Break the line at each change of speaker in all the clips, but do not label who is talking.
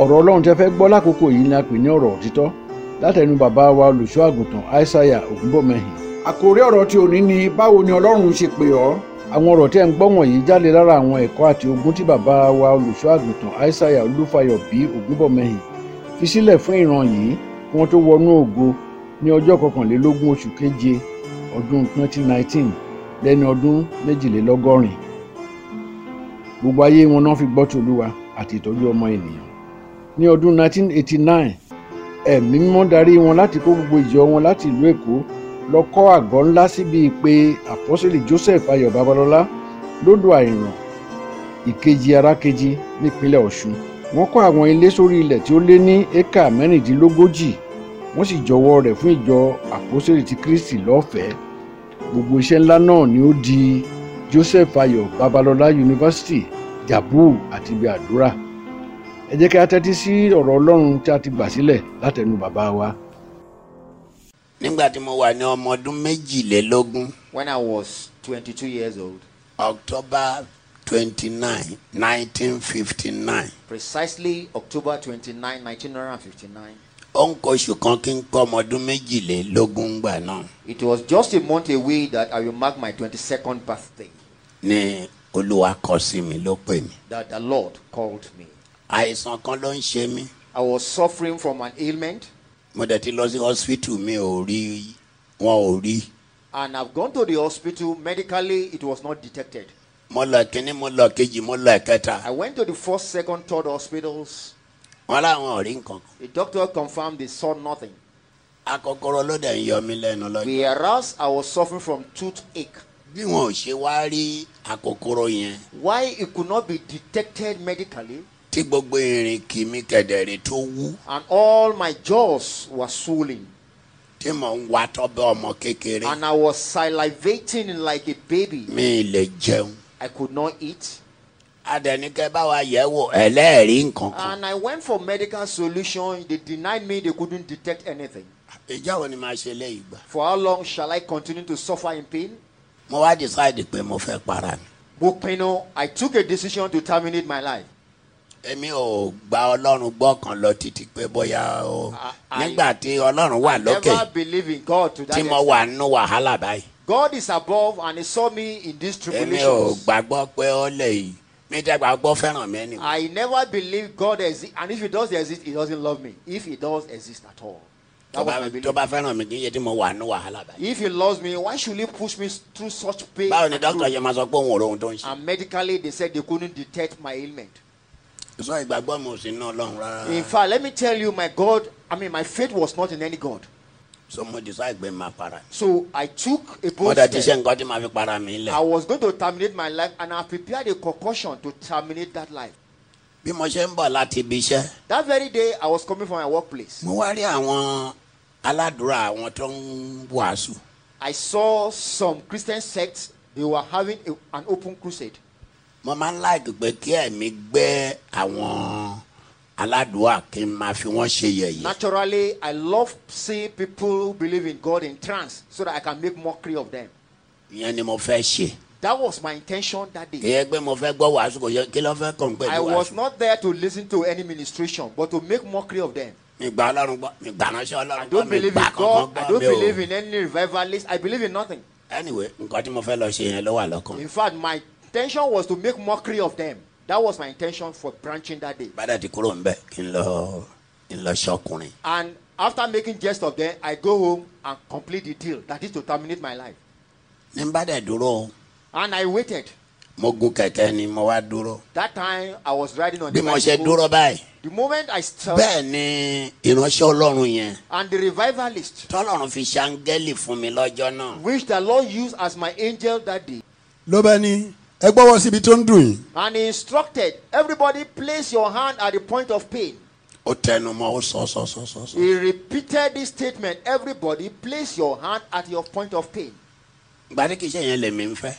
ọ̀rọ̀ ọlọ́run tẹ́ fẹ́ gbọ́ lákòókò yìí ni a pè ní ọ̀rọ̀ òtítọ́ látẹnu bàbá wa olùṣọ́ àgùntàn aishaiya ògúnbọ̀mẹ́hìn. àkòrí ọ̀rọ̀ tí òní ni báwo ni ọlọ́run ṣe pè ọ́. àwọn ọ̀rọ̀ tẹ́ ń gbọ́ wọ̀nyí jáde lára àwọn ẹ̀kọ́ àti ogun tí bàbá wa olùṣọ́ àgùntàn aishaiya olúfayọ bí ògúnbọ̀mẹ́hìn fi sílẹ̀ fún ìran yìí kí wọ́n tó wọnú ògo ní ọjọ́ kọkànlélógún oṣù keje ọdún 2019 lẹ́ni ọdún méjìlélọ́gọ́rin gbogbo ayé wọn náà fi gbọ́ ti olúwa àti ìtọ́jú ọmọ ènìyàn ní ọdún 1989 ẹ̀mí mímọ́ darí wọn láti kó gbogbo ìjọ wọn láti ìlú èkó lọ kọ́ àgọ́ ńlá síbi ìpè àpọ́sẹ̀lì joseph ayọ̀ babalọ́lá lódò àìràn ìkejì arákejì nípínlẹ̀ ọ̀ṣun wọ́n kọ́ àwọn ilé sórí ilẹ̀ tí ó lé ní éka mẹ́rìndínlógójì wọ́n sì jọwọ́ rẹ̀ fún ìjọ àpọ́sẹ̀lì ti kristi lọ́fẹ̀ẹ́ gbogbo iṣẹ́ ńlá náà ni ó di joseph ayọ̀ babalọ́lá yunifásitì jabu àti ibi àdúrà ẹ jẹ́ kí a tẹ́tí sí ọ̀rọ̀ ọlọ́run tí a ti gbà sílẹ̀ látẹnu bàbá wa.
nígbà tí mo wà ní ọmọ ọdún méjìlélógún
When I was 22 years old,
october twenty nine nineteen fifty nine
precisely October 29, 1959,
ó ń kó oṣù kan kí n kọ́ ọmọ ọdún méjìlélógún gbà náà
it was just a month away that I will mark my 22nd birthday
ni olúwa kọ sí mi ló pè mí
that the Lord called me.
àìsàn kan ló ń ṣe mí
I was suffering from an ailment
mo dẹ̀ ti lọ sí hospital mi ò rí wọn ò rí
and I've gone to the hospital. Medically, it was not detected.
mo lọ kínní mo lọ kejì mo lọ kẹta
I went to the first, second, third hospitals.
wọn láwọn ò rí nǹkan kan
The doctor confirmed they saw nothing.
akọkọrọ ló dẹ̀ ń yọ mí lẹ́nu lọ
Whereas I was suffering from toothache.
bí wọn ò ṣe wá rí akọkọrọ yẹn
Why it could not be detected medically
tí gbogbo irin kì mí kẹ̀dẹ̀rẹ̀ tó wú
and all my jaws were swollen
tí mò ń wá tọ́bẹ̀ ọmọ kékeré
and I was salivating like a baby.
mi lè jẹun
I could not eat.
adẹnikẹ́ bá wa yẹ̀ wò ẹlẹ́ẹ̀rí nǹkan kan
And I went for medical solution. They denied me. They couldn't detect anything.
ìjà wo ni màá ṣe léyìí gbà
For how long shall I continue to suffer in pain?
mo wá decide pé mo fẹ́ para mi
Bukpino, I took a decision to terminate my life.
èmi ò gba ọlọ́run gbọ́ kan lọ títí pé bóyá o
I-
nígbà tí ọlọ́run wà lókè
Never believe in God to that
tí mo
extent.
wà nínú wàhálà báyìí
God is above and He saw me in these
èmi ò
tribulations.
gbàgbọ́ pé ó lè yìí mi tẹ́ gbàgbọ́ fẹ́ràn mi ẹni
I never believe God exists, and if He does exist, He doesn't love me. If He does exist at all,
tó
that was
bá-
my
tó
belief.
bá fẹ́ràn mi kì í ṣe tí mo wà nínú wàhálà báyìí.
If He loves me, why should He push me through such pain?
báwo ni
and
dókítà
through-
ṣe máa sọ pé òun ò rohun tó ń ṣe.
And medically, they said they couldn't detect my ailment.
sọ ìgbàgbọ́ mi ò sí náà lọ́run
In
rárá.
fact, let me tell you, my God, I mean, my faith was not in any God.
so mo decide pé máa para.
So I took a
mo
bold
dẹ̀ ti ṣe
step.
nǹkan tí màá fi para mi
I
lẹ̀.
was going to terminate my life, and I prepared a concussion to terminate that life.
bí mo ṣe ń bọ̀ láti ibi iṣẹ́
That very day, I was coming from my workplace.
mo wá rí àwọn aládùúrà àwọn tó ń wàásù.
I saw some Christian sects. They were having a, an open crusade.
mo máa ń láàgì pé kí ẹ̀mí gbẹ́ àwọn aládùúrà kí n máa fi wọ́n ṣe yẹ̀yẹ́.
Naturally, I love seeing people who believe in God in trance so that I can make mockery of them.
ìyẹn ni mo fẹ́ ṣe.
That was my intention that day.
kì í pé mo fẹ́ gbọ́ wàásù kò yẹ kí ló fẹ́ kàn
I
pẹ̀lú
was
wàásù.
not there to listen to any ministration, but to make mockery of them.
mi gbà ọlọ́run gbọ́ mi gbà ránṣẹ́
I
ọlọ́run gbọ́
don't
mi
believe
gbà
in
kankan
God. I
gbọ́
don't
mi ò.
believe in any revivalist. I believe in nothing.
anyway nǹkan tí mo fẹ́ lọ ṣe yẹn ló wà lọ́kàn.
In fact, my intention was to make mockery of them. That was my intention for branching that day.
bàdà ti kúrò nbẹ kí n lọ kí n lọ ṣọkùnrin.
And after making jest of them, I go home and complete the deal. That is to terminate my life.
ní bàdà dúró
And I waited.
mo gun kẹ̀kẹ́ ni mo wá dúró.
That time I was riding on
bí
the
mo ṣe
bicycle.
dúró báyìí.
The moment I stopped,
bẹ́ẹ̀ ni ìránṣẹ́ ọlọ́run yẹn
and the revivalist,
tọ́lọ́run fi ṣàǹgẹ́lì fún mi lọ́jọ́ náà.
which the Lord used as my angel that day,
ló bá ní ẹ gbọ́wọ́ síbi tó ń dùn yìí.
and he instructed everybody place your hand at the point of pain.
ó tẹnu mọ́ ó sọ sọ sọ sọ. sọ.
He repeated this statement everybody, place your hand at your point of pain.
gbadé kìí ṣe yẹn lèmi ń fẹ́.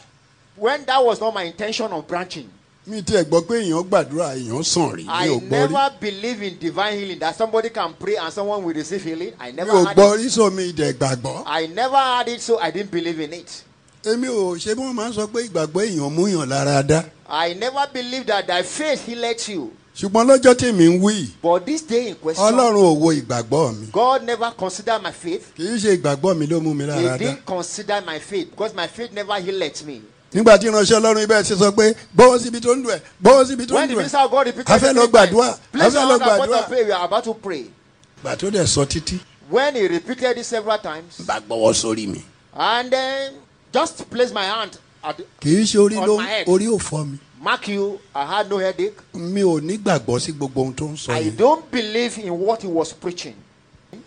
When that was not my intention of branching,
mi tiẹ̀ gbọ́ pé èèyàn gbàdúrà èèyàn sàn rí
I never believe in divine healing that somebody can pray and someone will receive healing. I
mi
never
ò
had
gbọ́
it.
rí sọ mi ìdẹ̀ gbàgbọ́
I never had it, so I didn't believe in it.
èmi ò ṣe bí wọ́n máa ń sọ pé ìgbàgbọ́ èèyàn múyàn lára dá
I never believed that thy faith healeth you.
ṣùgbọ́n lọ́jọ́ tí mi ń wí
But this day in question,
ọlọ́run ò wo ìgbàgbọ́ mi
God never considered my faith.
kì í ṣe ìgbàgbọ́ mi ló mú mi
He
lára dá
didn't consider my faith because my faith never healed me.
nígbà tí ìránṣẹ́ ọlọ́run ibẹ̀ ṣe sọ pé gbọ́wọ́ síbi tó ń dùn ẹ̀ gbọ́wọ́ síbi tó ń
When the
dùn ẹ̀
minister of God repeated
A
three
fẹ́ lọ
times,
gbàdúrà, a
Please
fẹ́ lọ
hold our point
gbàdúrà."
of prayer. We are about to pray.
gbà tó dẹ̀ sọ títí
When he repeated it several times,
bá gbọ́wọ́ sórí mi
and then just place my hand at
kì í ṣe orí
On
ló
my head.
orí ò fọ́ mi
mark you. I had no headache.
mi ò ní gbàgbọ́ sí gbogbo ohun tó ń sọ
I
yẹn
don't believe in what he was preaching.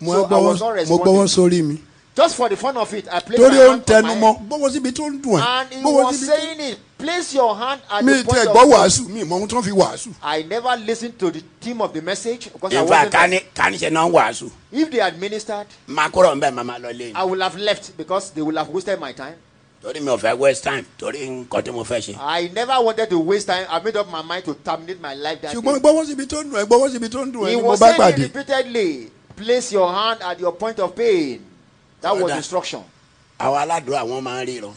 mo
so I
gbọ́wọ́-
was not
mo gbọ́wọ́
responding.
sórí mi
Just for the fun of it, I placed my
torí ó ń
hand on
tẹnu
my
mọ́
head.
gbọ́wọ́ síbi tó ń dùn ẹ̀
And he
gbọ́wọ́
was
síbi tó
saying it. Place your hand at
mi
the
ti
point
ẹ̀gbọ́
of
wàásù mi mọ ohun tó ń fi wàásù
I never listened to the theme of the message because I
ìfà
wasn't.
kání kání ṣe náà ń wàásù
If they had ministered,
máa kúrò ń bẹ̀ máa máa lọ lé mi
I would have left because they would have wasted my time.
torí mi ò fẹ́ waste time torí nǹkan tí mo fẹ́ ṣe.
I never wanted to waste time. I made up my mind to terminate my life that day.
ṣùgbọ́n gbọ́wọ́ síbi tó ń dùn ẹ̀ gbọ́wọ́ síbi tó ń dùn ẹ̀
He
ni mo
was saying
bá
it
pàdé
repeatedly, place your hand at your point of pain. That was
Brother.
instruction.
àwọn aládùúrà wọn máa ń ríran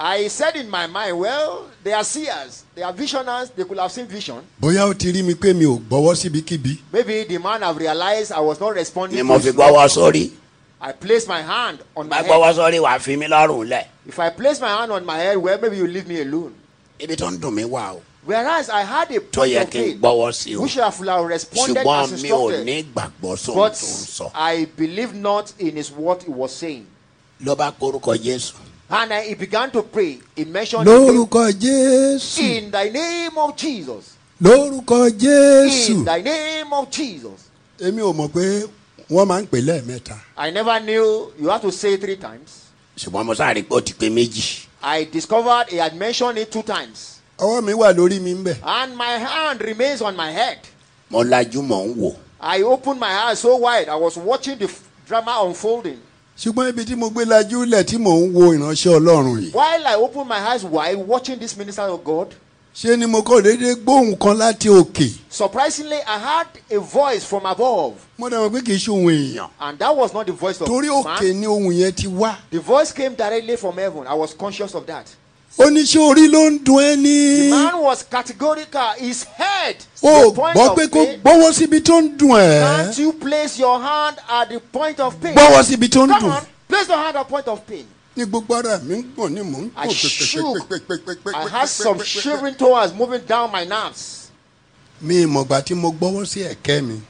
I said in my mind, well, they are seers, they are visionaries, they could have seen vision.
bóyá ó ti rí mi pé mi ò gbọ́wọ́ síbikíbi
Maybe the man have realized I was not responding.
ni
to
mo
his
fi gbọ́wọ́
instruction.
sórí
I placed my hand on
bá
my head.
gbọ́wọ́ sórí wàá fi mí lọ́rùn lẹ̀
If I place my hand on my head, well, maybe you leave me alone.
ibi tó ń dùn mí wà o
Whereas I had a
tó
point
yẹ
of
kí n
faith,
gbọ́wọ́ sí o
which I would have responded
ṣùgbọ́n
as
mi ò ní
instructed.
gbàgbọ́ sóhun tó ń sọ
But I believe not in his what he was saying.
ló bá korúkọ jésù
And I, he began to pray. He mentioned his
lórúkọ jésù
name. in the name of Jesus.
lórúkọ jésù
In the name of Jesus.
èmi ò mọ̀ pé wọ́n máa ń pè lẹ́ẹ̀mẹ́ta
I never knew you have to say three times.
ṣùgbọ́n mo sáré pé ó ti pé méjì
I discovered he had mentioned it two times.
ọwọ́ mi wà lórí mi ń bẹ̀
And my hand remains on my head.
mo lajú mò ń wò
I opened my eyes so wide. I was watching the f- drama unfolding.
ṣùgbọ́n ibi tí mo gbé lajú lẹ̀ tí mò ń wo ìránṣẹ́ ọlọ́run yìí
While I opened my eyes wide, watching this minister of God,
ṣé ni mo kọ́ déédéé gbóhùn kan láti òkè
surprisingly, I heard a voice from above.
mo dàgbà pé kì í ṣe ohun èèyàn
And that was not the voice of
torí òkè
man.
ni ohun yẹn ti wá
The voice came directly from heaven. I was conscious of that.
ó ní ṣé orí ló ń dun ẹ́
The
ní
man was categorical. His head.
o
the point
Oh, gbọ́
of
pé kó
pain.
gbọ́wọ́ síbi tó ń dùn ẹ́
Can't you place your hand at the point of pain?
gbọ́wọ́ síbi tó ń
Come
dùn
on, place your hand at point of pain.
ní gbogbo ara mi ń gbọ̀n ní mò ń
I shook.
pè
I had some shivering toes moving down my nerves.
mi ìmọ̀gbà tí mo gbọ́wọ́ sí ẹ̀kẹ́ mi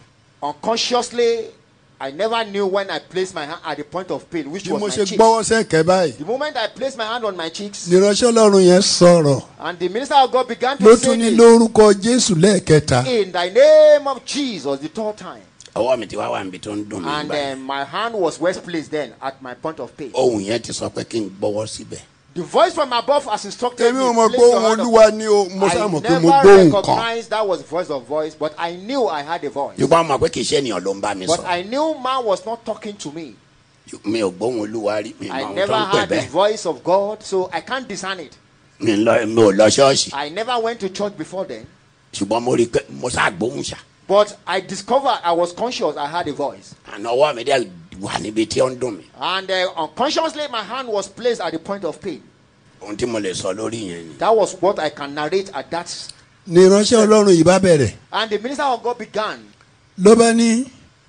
Unconsciously, I never knew when I placed my hand at the point of pain, which
bí
was
mo
my
ṣe
cheeks.
gbọ́wọ́ sí ẹ̀kẹ́ báyìí
The moment I placed my hand on my cheeks,
níránṣẹ́ ọlọ́run yẹn sọ̀rọ̀
and the minister of God began
ló
to say,
tún ní
this,
lórúkọ jésù lẹ́ẹ̀kẹta
"In thy name of Jesus," the third time,
ọwọ́ mi ti wá wà níbi tó ń dùn mí
and
gbà
uh, my hand was well placed then at my point of
Oh.
pain.
ohun yẹn ti sọ pé kí n gbọ́wọ́ síbẹ̀
The voice from above has instructed
èmi
me,
ò mọ̀
"Place
pé
your
ohun
hand on
olúwa ni o mo
I
sá mọ̀ pé
never
mo gbóhùn kan
recognized that was voice of voice, but I knew I had a voice.
ṣùgbọ́n mo mọ̀ pé kì í ṣe ènìyàn ló ń bá mi sọ
But I knew man was not talking to me.
mi ò gbóhùn olúwa rí mi mọ
I
ohun
never
tó ń pè
heard the
bẹ́ẹ̀
voice of God, so I can't discern it.
mi ń lọ- mi ò lọ ṣọ́ọ̀ṣì
I never went to church before then,
ṣùgbọ́n mo rí i pé mo sá gbóhùn ṣá
but I discovered I was conscious I had a voice.
àná ọwọ́ mi dẹ̀ wà níbi tí ó ń dùn mí
And uh, unconsciously, my hand was placed at the point of pain.
ohun tí mo lè sọ lórí yẹn ni
That was what I can narrate at that.
níránṣẹ́ ọlọ́run yìí bá bẹ̀rẹ̀
And the minister of God began,
ló bá ní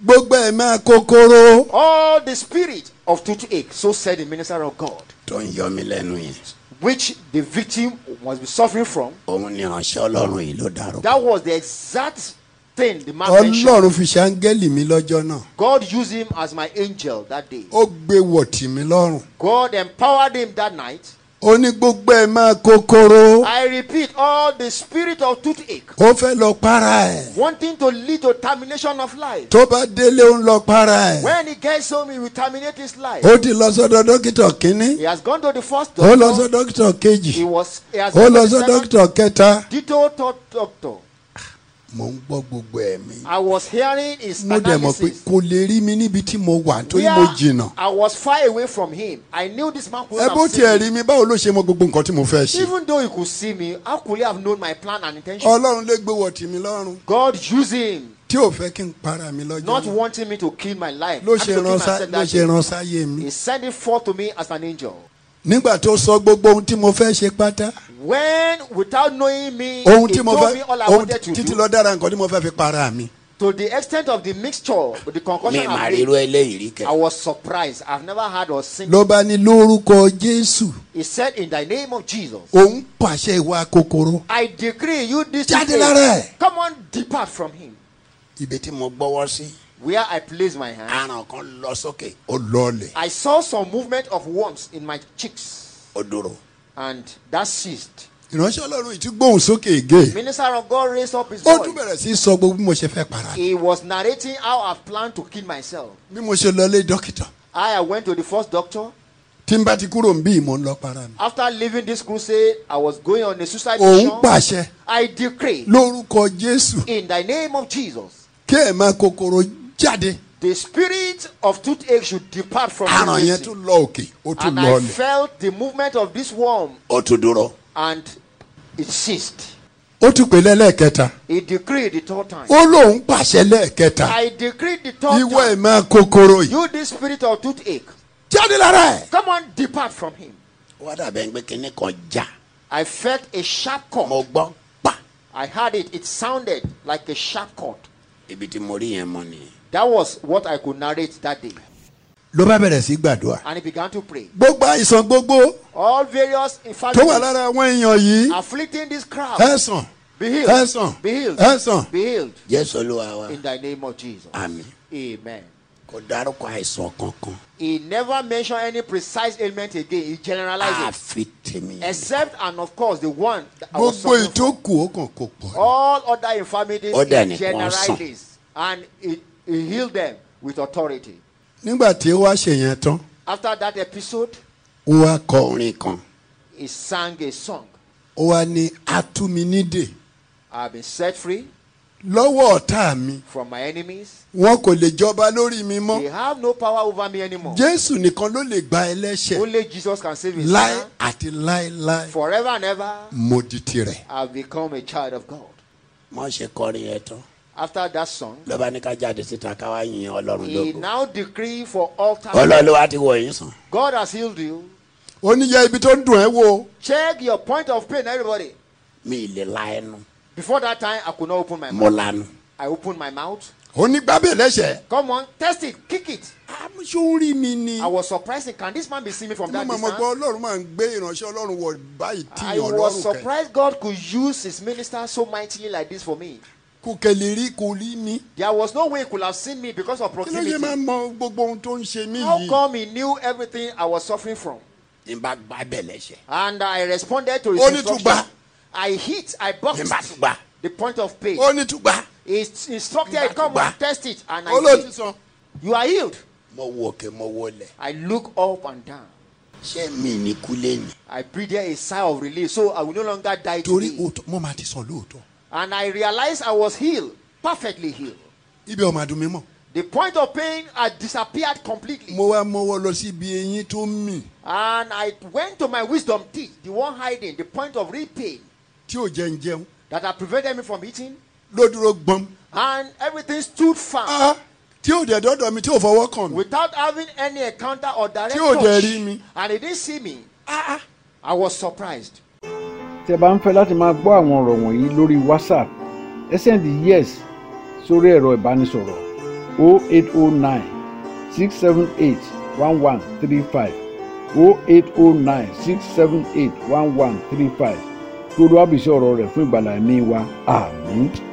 gbogbo ẹ̀ máa kókóró
All the spirit of toothache, so said the minister of God,
tó ń yọ mí lẹ́nu yẹn
which the victim must be suffering from,
òun ni ìránṣẹ́ ọlọ́run yìí ló dárò
That was the exact thing the man mentioned.
ọlọ́run fi ṣàǹgẹ́lì mi lọ́jọ́ náà
God used him as my angel that day.
ó gbé wọ̀tì mi lọ́rùn
God empowered him that night.
ó ní gbogbo ẹ̀ máa kókóró
I repeat, all the spirit of toothache,
ó fẹ́ lọ para ẹ̀
wanting to lead to termination of life.
tó bá délé ó ń lọ para ẹ̀
When he gets home, he will terminate his life.
ó ti lọ sọ́dọ̀ dókítà kínní
He has gone to the first
ó lọ sọ
doctor.
dókítà kejì
He was. He has
ó
gone
lọ
to
sọ
the second
dókítà kẹta
detailed third doctor.
mò ń gbọ́ gbogbo ẹ̀ mi
I was hearing his
mo dẹ̀ mọ̀ pé
analysis.
kò lè rí mi níbi tí mo wà torí mo jìnnà
Where I was far away from him. I knew this man could
ẹ bó
have
tiẹ̀
seen me.
rí mi báwo ló ṣe mọ gbogbo nǹkan tí mo fẹ́ ṣe
Even though he could see me, how could he have known my plan and intention?
ọlọ́run lè gbé wọ̀tí mi lọ́rùn
God used him,
tí ò fẹ́ kí n para mi
not
lọ́jọ́ náà.
wanting me to kill my life.
ló
and
ṣe
to kill
ránṣá
myself
ló
that
ṣe
day.
ránṣá yé mi
He sent it forth to me as an angel.
nígbà tó sọ gbogbo ohun tí mo fẹ́ ṣe pátá
When, without knowing me,
ohun
he
tí mo
told
fẹ́
me all I
ohun
wanted to
títí
do,
lọ dára nǹkan tí mo fẹ́ fi para mi
to the extent of the mixture, the
mi
concoction
mà
I
rí irú
made,
eléyìí rí kẹ.
I was surprised. I've never heard or seen.
ló bá ní lórúkọ jésù
He said, "In the name of Jesus,
òun pàṣẹ ìwà kòkòrò
I decree you this
Jáde
day.
lára ẹ̀.
Come on, depart from him.
ibi tí mo gbọ́wọ́ sí
Where I place my hand,
aràn kan lọ sókè
ó lọlẹ̀
I saw some movement of worms in my cheeks,
ó dúró.
and that ceased.
ìránṣẹ́ ọlọ́run ìtú gbóhùn sókè ègé
Minister of God raised up his
ó tún
voice.
bẹ̀rẹ̀ sí í sọ gbogbo bí mo ṣe fẹ́ para mi
He was narrating how I've planned to kill myself.
bí mo ṣe lọlé dókítà
I I went to the first doctor.
tí n bá ti kúrò ń bí mo ń lọ para mi
After leaving this crusade, I was going on a suicide
òun
mission.
pàṣẹ
I decree
lórúkọ jésù
in the name of Jesus,
kí ẹ̀ máa kòkòrò jáde
the spirit of toothache should depart from me.
àràn yẹn tún lọ òkè ó tún
And I
lọlẹ̀.
felt the movement of this worm
ó tún dúró.
and it ceased.
ó tún pè lẹ́lẹ́kẹta
He decreed the third time.
ó lóun pàṣẹ lẹ́ẹ̀kẹta
I decreed the third
ìwọ ẹ̀
time.
máa kòkòrò yìí
You, this spirit of toothache,
jáde lára ẹ̀.
come on, depart from him.
ó wá dàbẹ̀ ń gbé kinní kan já
I felt a sharp
mo
cut.
gbọ́ pa
I heard it. It sounded like a sharp cut.
ibi tí mo rí yẹn mọ nìyẹn.
That was what I could narrate that day.
ló bá bẹ̀rẹ̀ sí gbàdúrà.
And he began to pray.
gbogbo àìsàn gbogbo
All various
tó wà
infirmities
lára àwọn èèyàn yìí
afflicting this crowd,
ẹ̀sán
be healed.
ẹ̀sán
Be healed.
ẹ̀sán
Be healed.
jésù olúwa wa
In the name of Jesus.
àmì
Amen.
kò dárúkọ àìsàn kankan
He never mentioned any precise ailment again. He generalized it.
àfi tèmi.
Except, and of course, the one that I was
gbogbo
suffering from.
ìtókù ó kàn kó pọ̀.
All other infirmities,
Ó dẹ̀
he
nìkan sàn.
generalized it. And he, he healed them with authority.
nígbà tí ó wá ṣe yẹn tán
After that episode,
ó wá kọ
ọkùnrin kan
he sang a song.
ó wá ní atúminídè
I've been set free
lọ́wọ́ ọ̀tá mi
from my enemies.
wọn kò lè jọba lórí mi
They
mọ́
have no power over me anymore.
jésù nìkan ló lè gba ẹlẹ́ṣẹ̀
Only Jesus can save his
láé
son.
àti láéláé
Forever and ever,
mo di tirẹ̀.
I've become a child of God.
mọ ṣe kọrin yẹn tán
After that song,
ló bá ní ká jáde síta ká wá yin ọlọ́run
he
lógo.
now decree for all time.
ọlọ́lọ́wà ti wọ̀ yín sàn.
God has healed you.
ó ní yẹ ibi tó ń dùn ẹ́ wo
Check your point of pain, everybody.
mi ì lè la ẹnu
Before that time, I could not open my
mo
mouth.
lanu.
I opened my mouth.
ó ní gbábẹ̀ lẹ́sẹ̀.
Come on, test it, kick it.
amúṣúrì mi ni.
I was surprised. Can this man be seeing me from
mo
that
mọ̀ mọ̀ pé
distance?
ọlọ́run máa ń gbé ìránṣẹ́ ọlọ́run wọ báyìí tí
I
ìyàn
was
lọ́rùn kẹ.
surprised God could use his minister so mightily like this for me.
kò kẹ̀lé rí kò rí mi.
There was no way he could have seen me because of
kí ló yẹ
proximity.
máa mọ gbogbo ohun tó ń ṣe mí
How
yìí.
come he knew everything I was suffering from?
ní bá gbá bẹ̀ lẹ́sẹ̀
And I responded to his
Only
instruction.
Tuba.
I hit, I
ní
boxed
bá tún gbá
the point of pain.
ó ní tùgbà.
He s- instructed,
Tuba.
come on, test it. And
ó ló
I
ti
did.
sọ.
You are healed.
mo wo òkè mo wo lẹ̀
I look up and down.
ṣé mi ní kúlé ni.
I breathed a sigh of relief, so I will no longer die
torí
today.
òótọ́ mo máa ti sọ lóòótọ́.
And I realized I was healed, perfectly healed.
ibi ọmọ àdùn mi mọ̀.
The point of pain had disappeared completely.
mo wá mọ́wọ́ lọ sí ibi eyín tó ń mì
And I went to my wisdom teeth, the one hiding, the point of real pain
tí ò jẹ́ ń jẹun
that had prevented me from eating.
ló dúró gbọ́n.
And everything stood firm
Ah, tí ò dẹ̀ dọ́dọ̀ mi tí ò fọwọ́ kàn mí.
without having any encounter or direct
Tí ò dẹ̀
touch.
rí mi. Ah,
And he didn't see me. I was surprised.
tí ẹ bá ń fẹ́ láti máa gbọ́ àwọn ọ̀rọ̀ wọ̀nyí lórí whatsapp ẹ send yes sórí ẹ̀rọ ìbánisọ̀rọ̀ 0809 678 1135 0809 678 1135 kí olúwàbísí ọ̀rọ̀ rẹ̀ fún ìgbàlá ẹ̀mí wa àmín.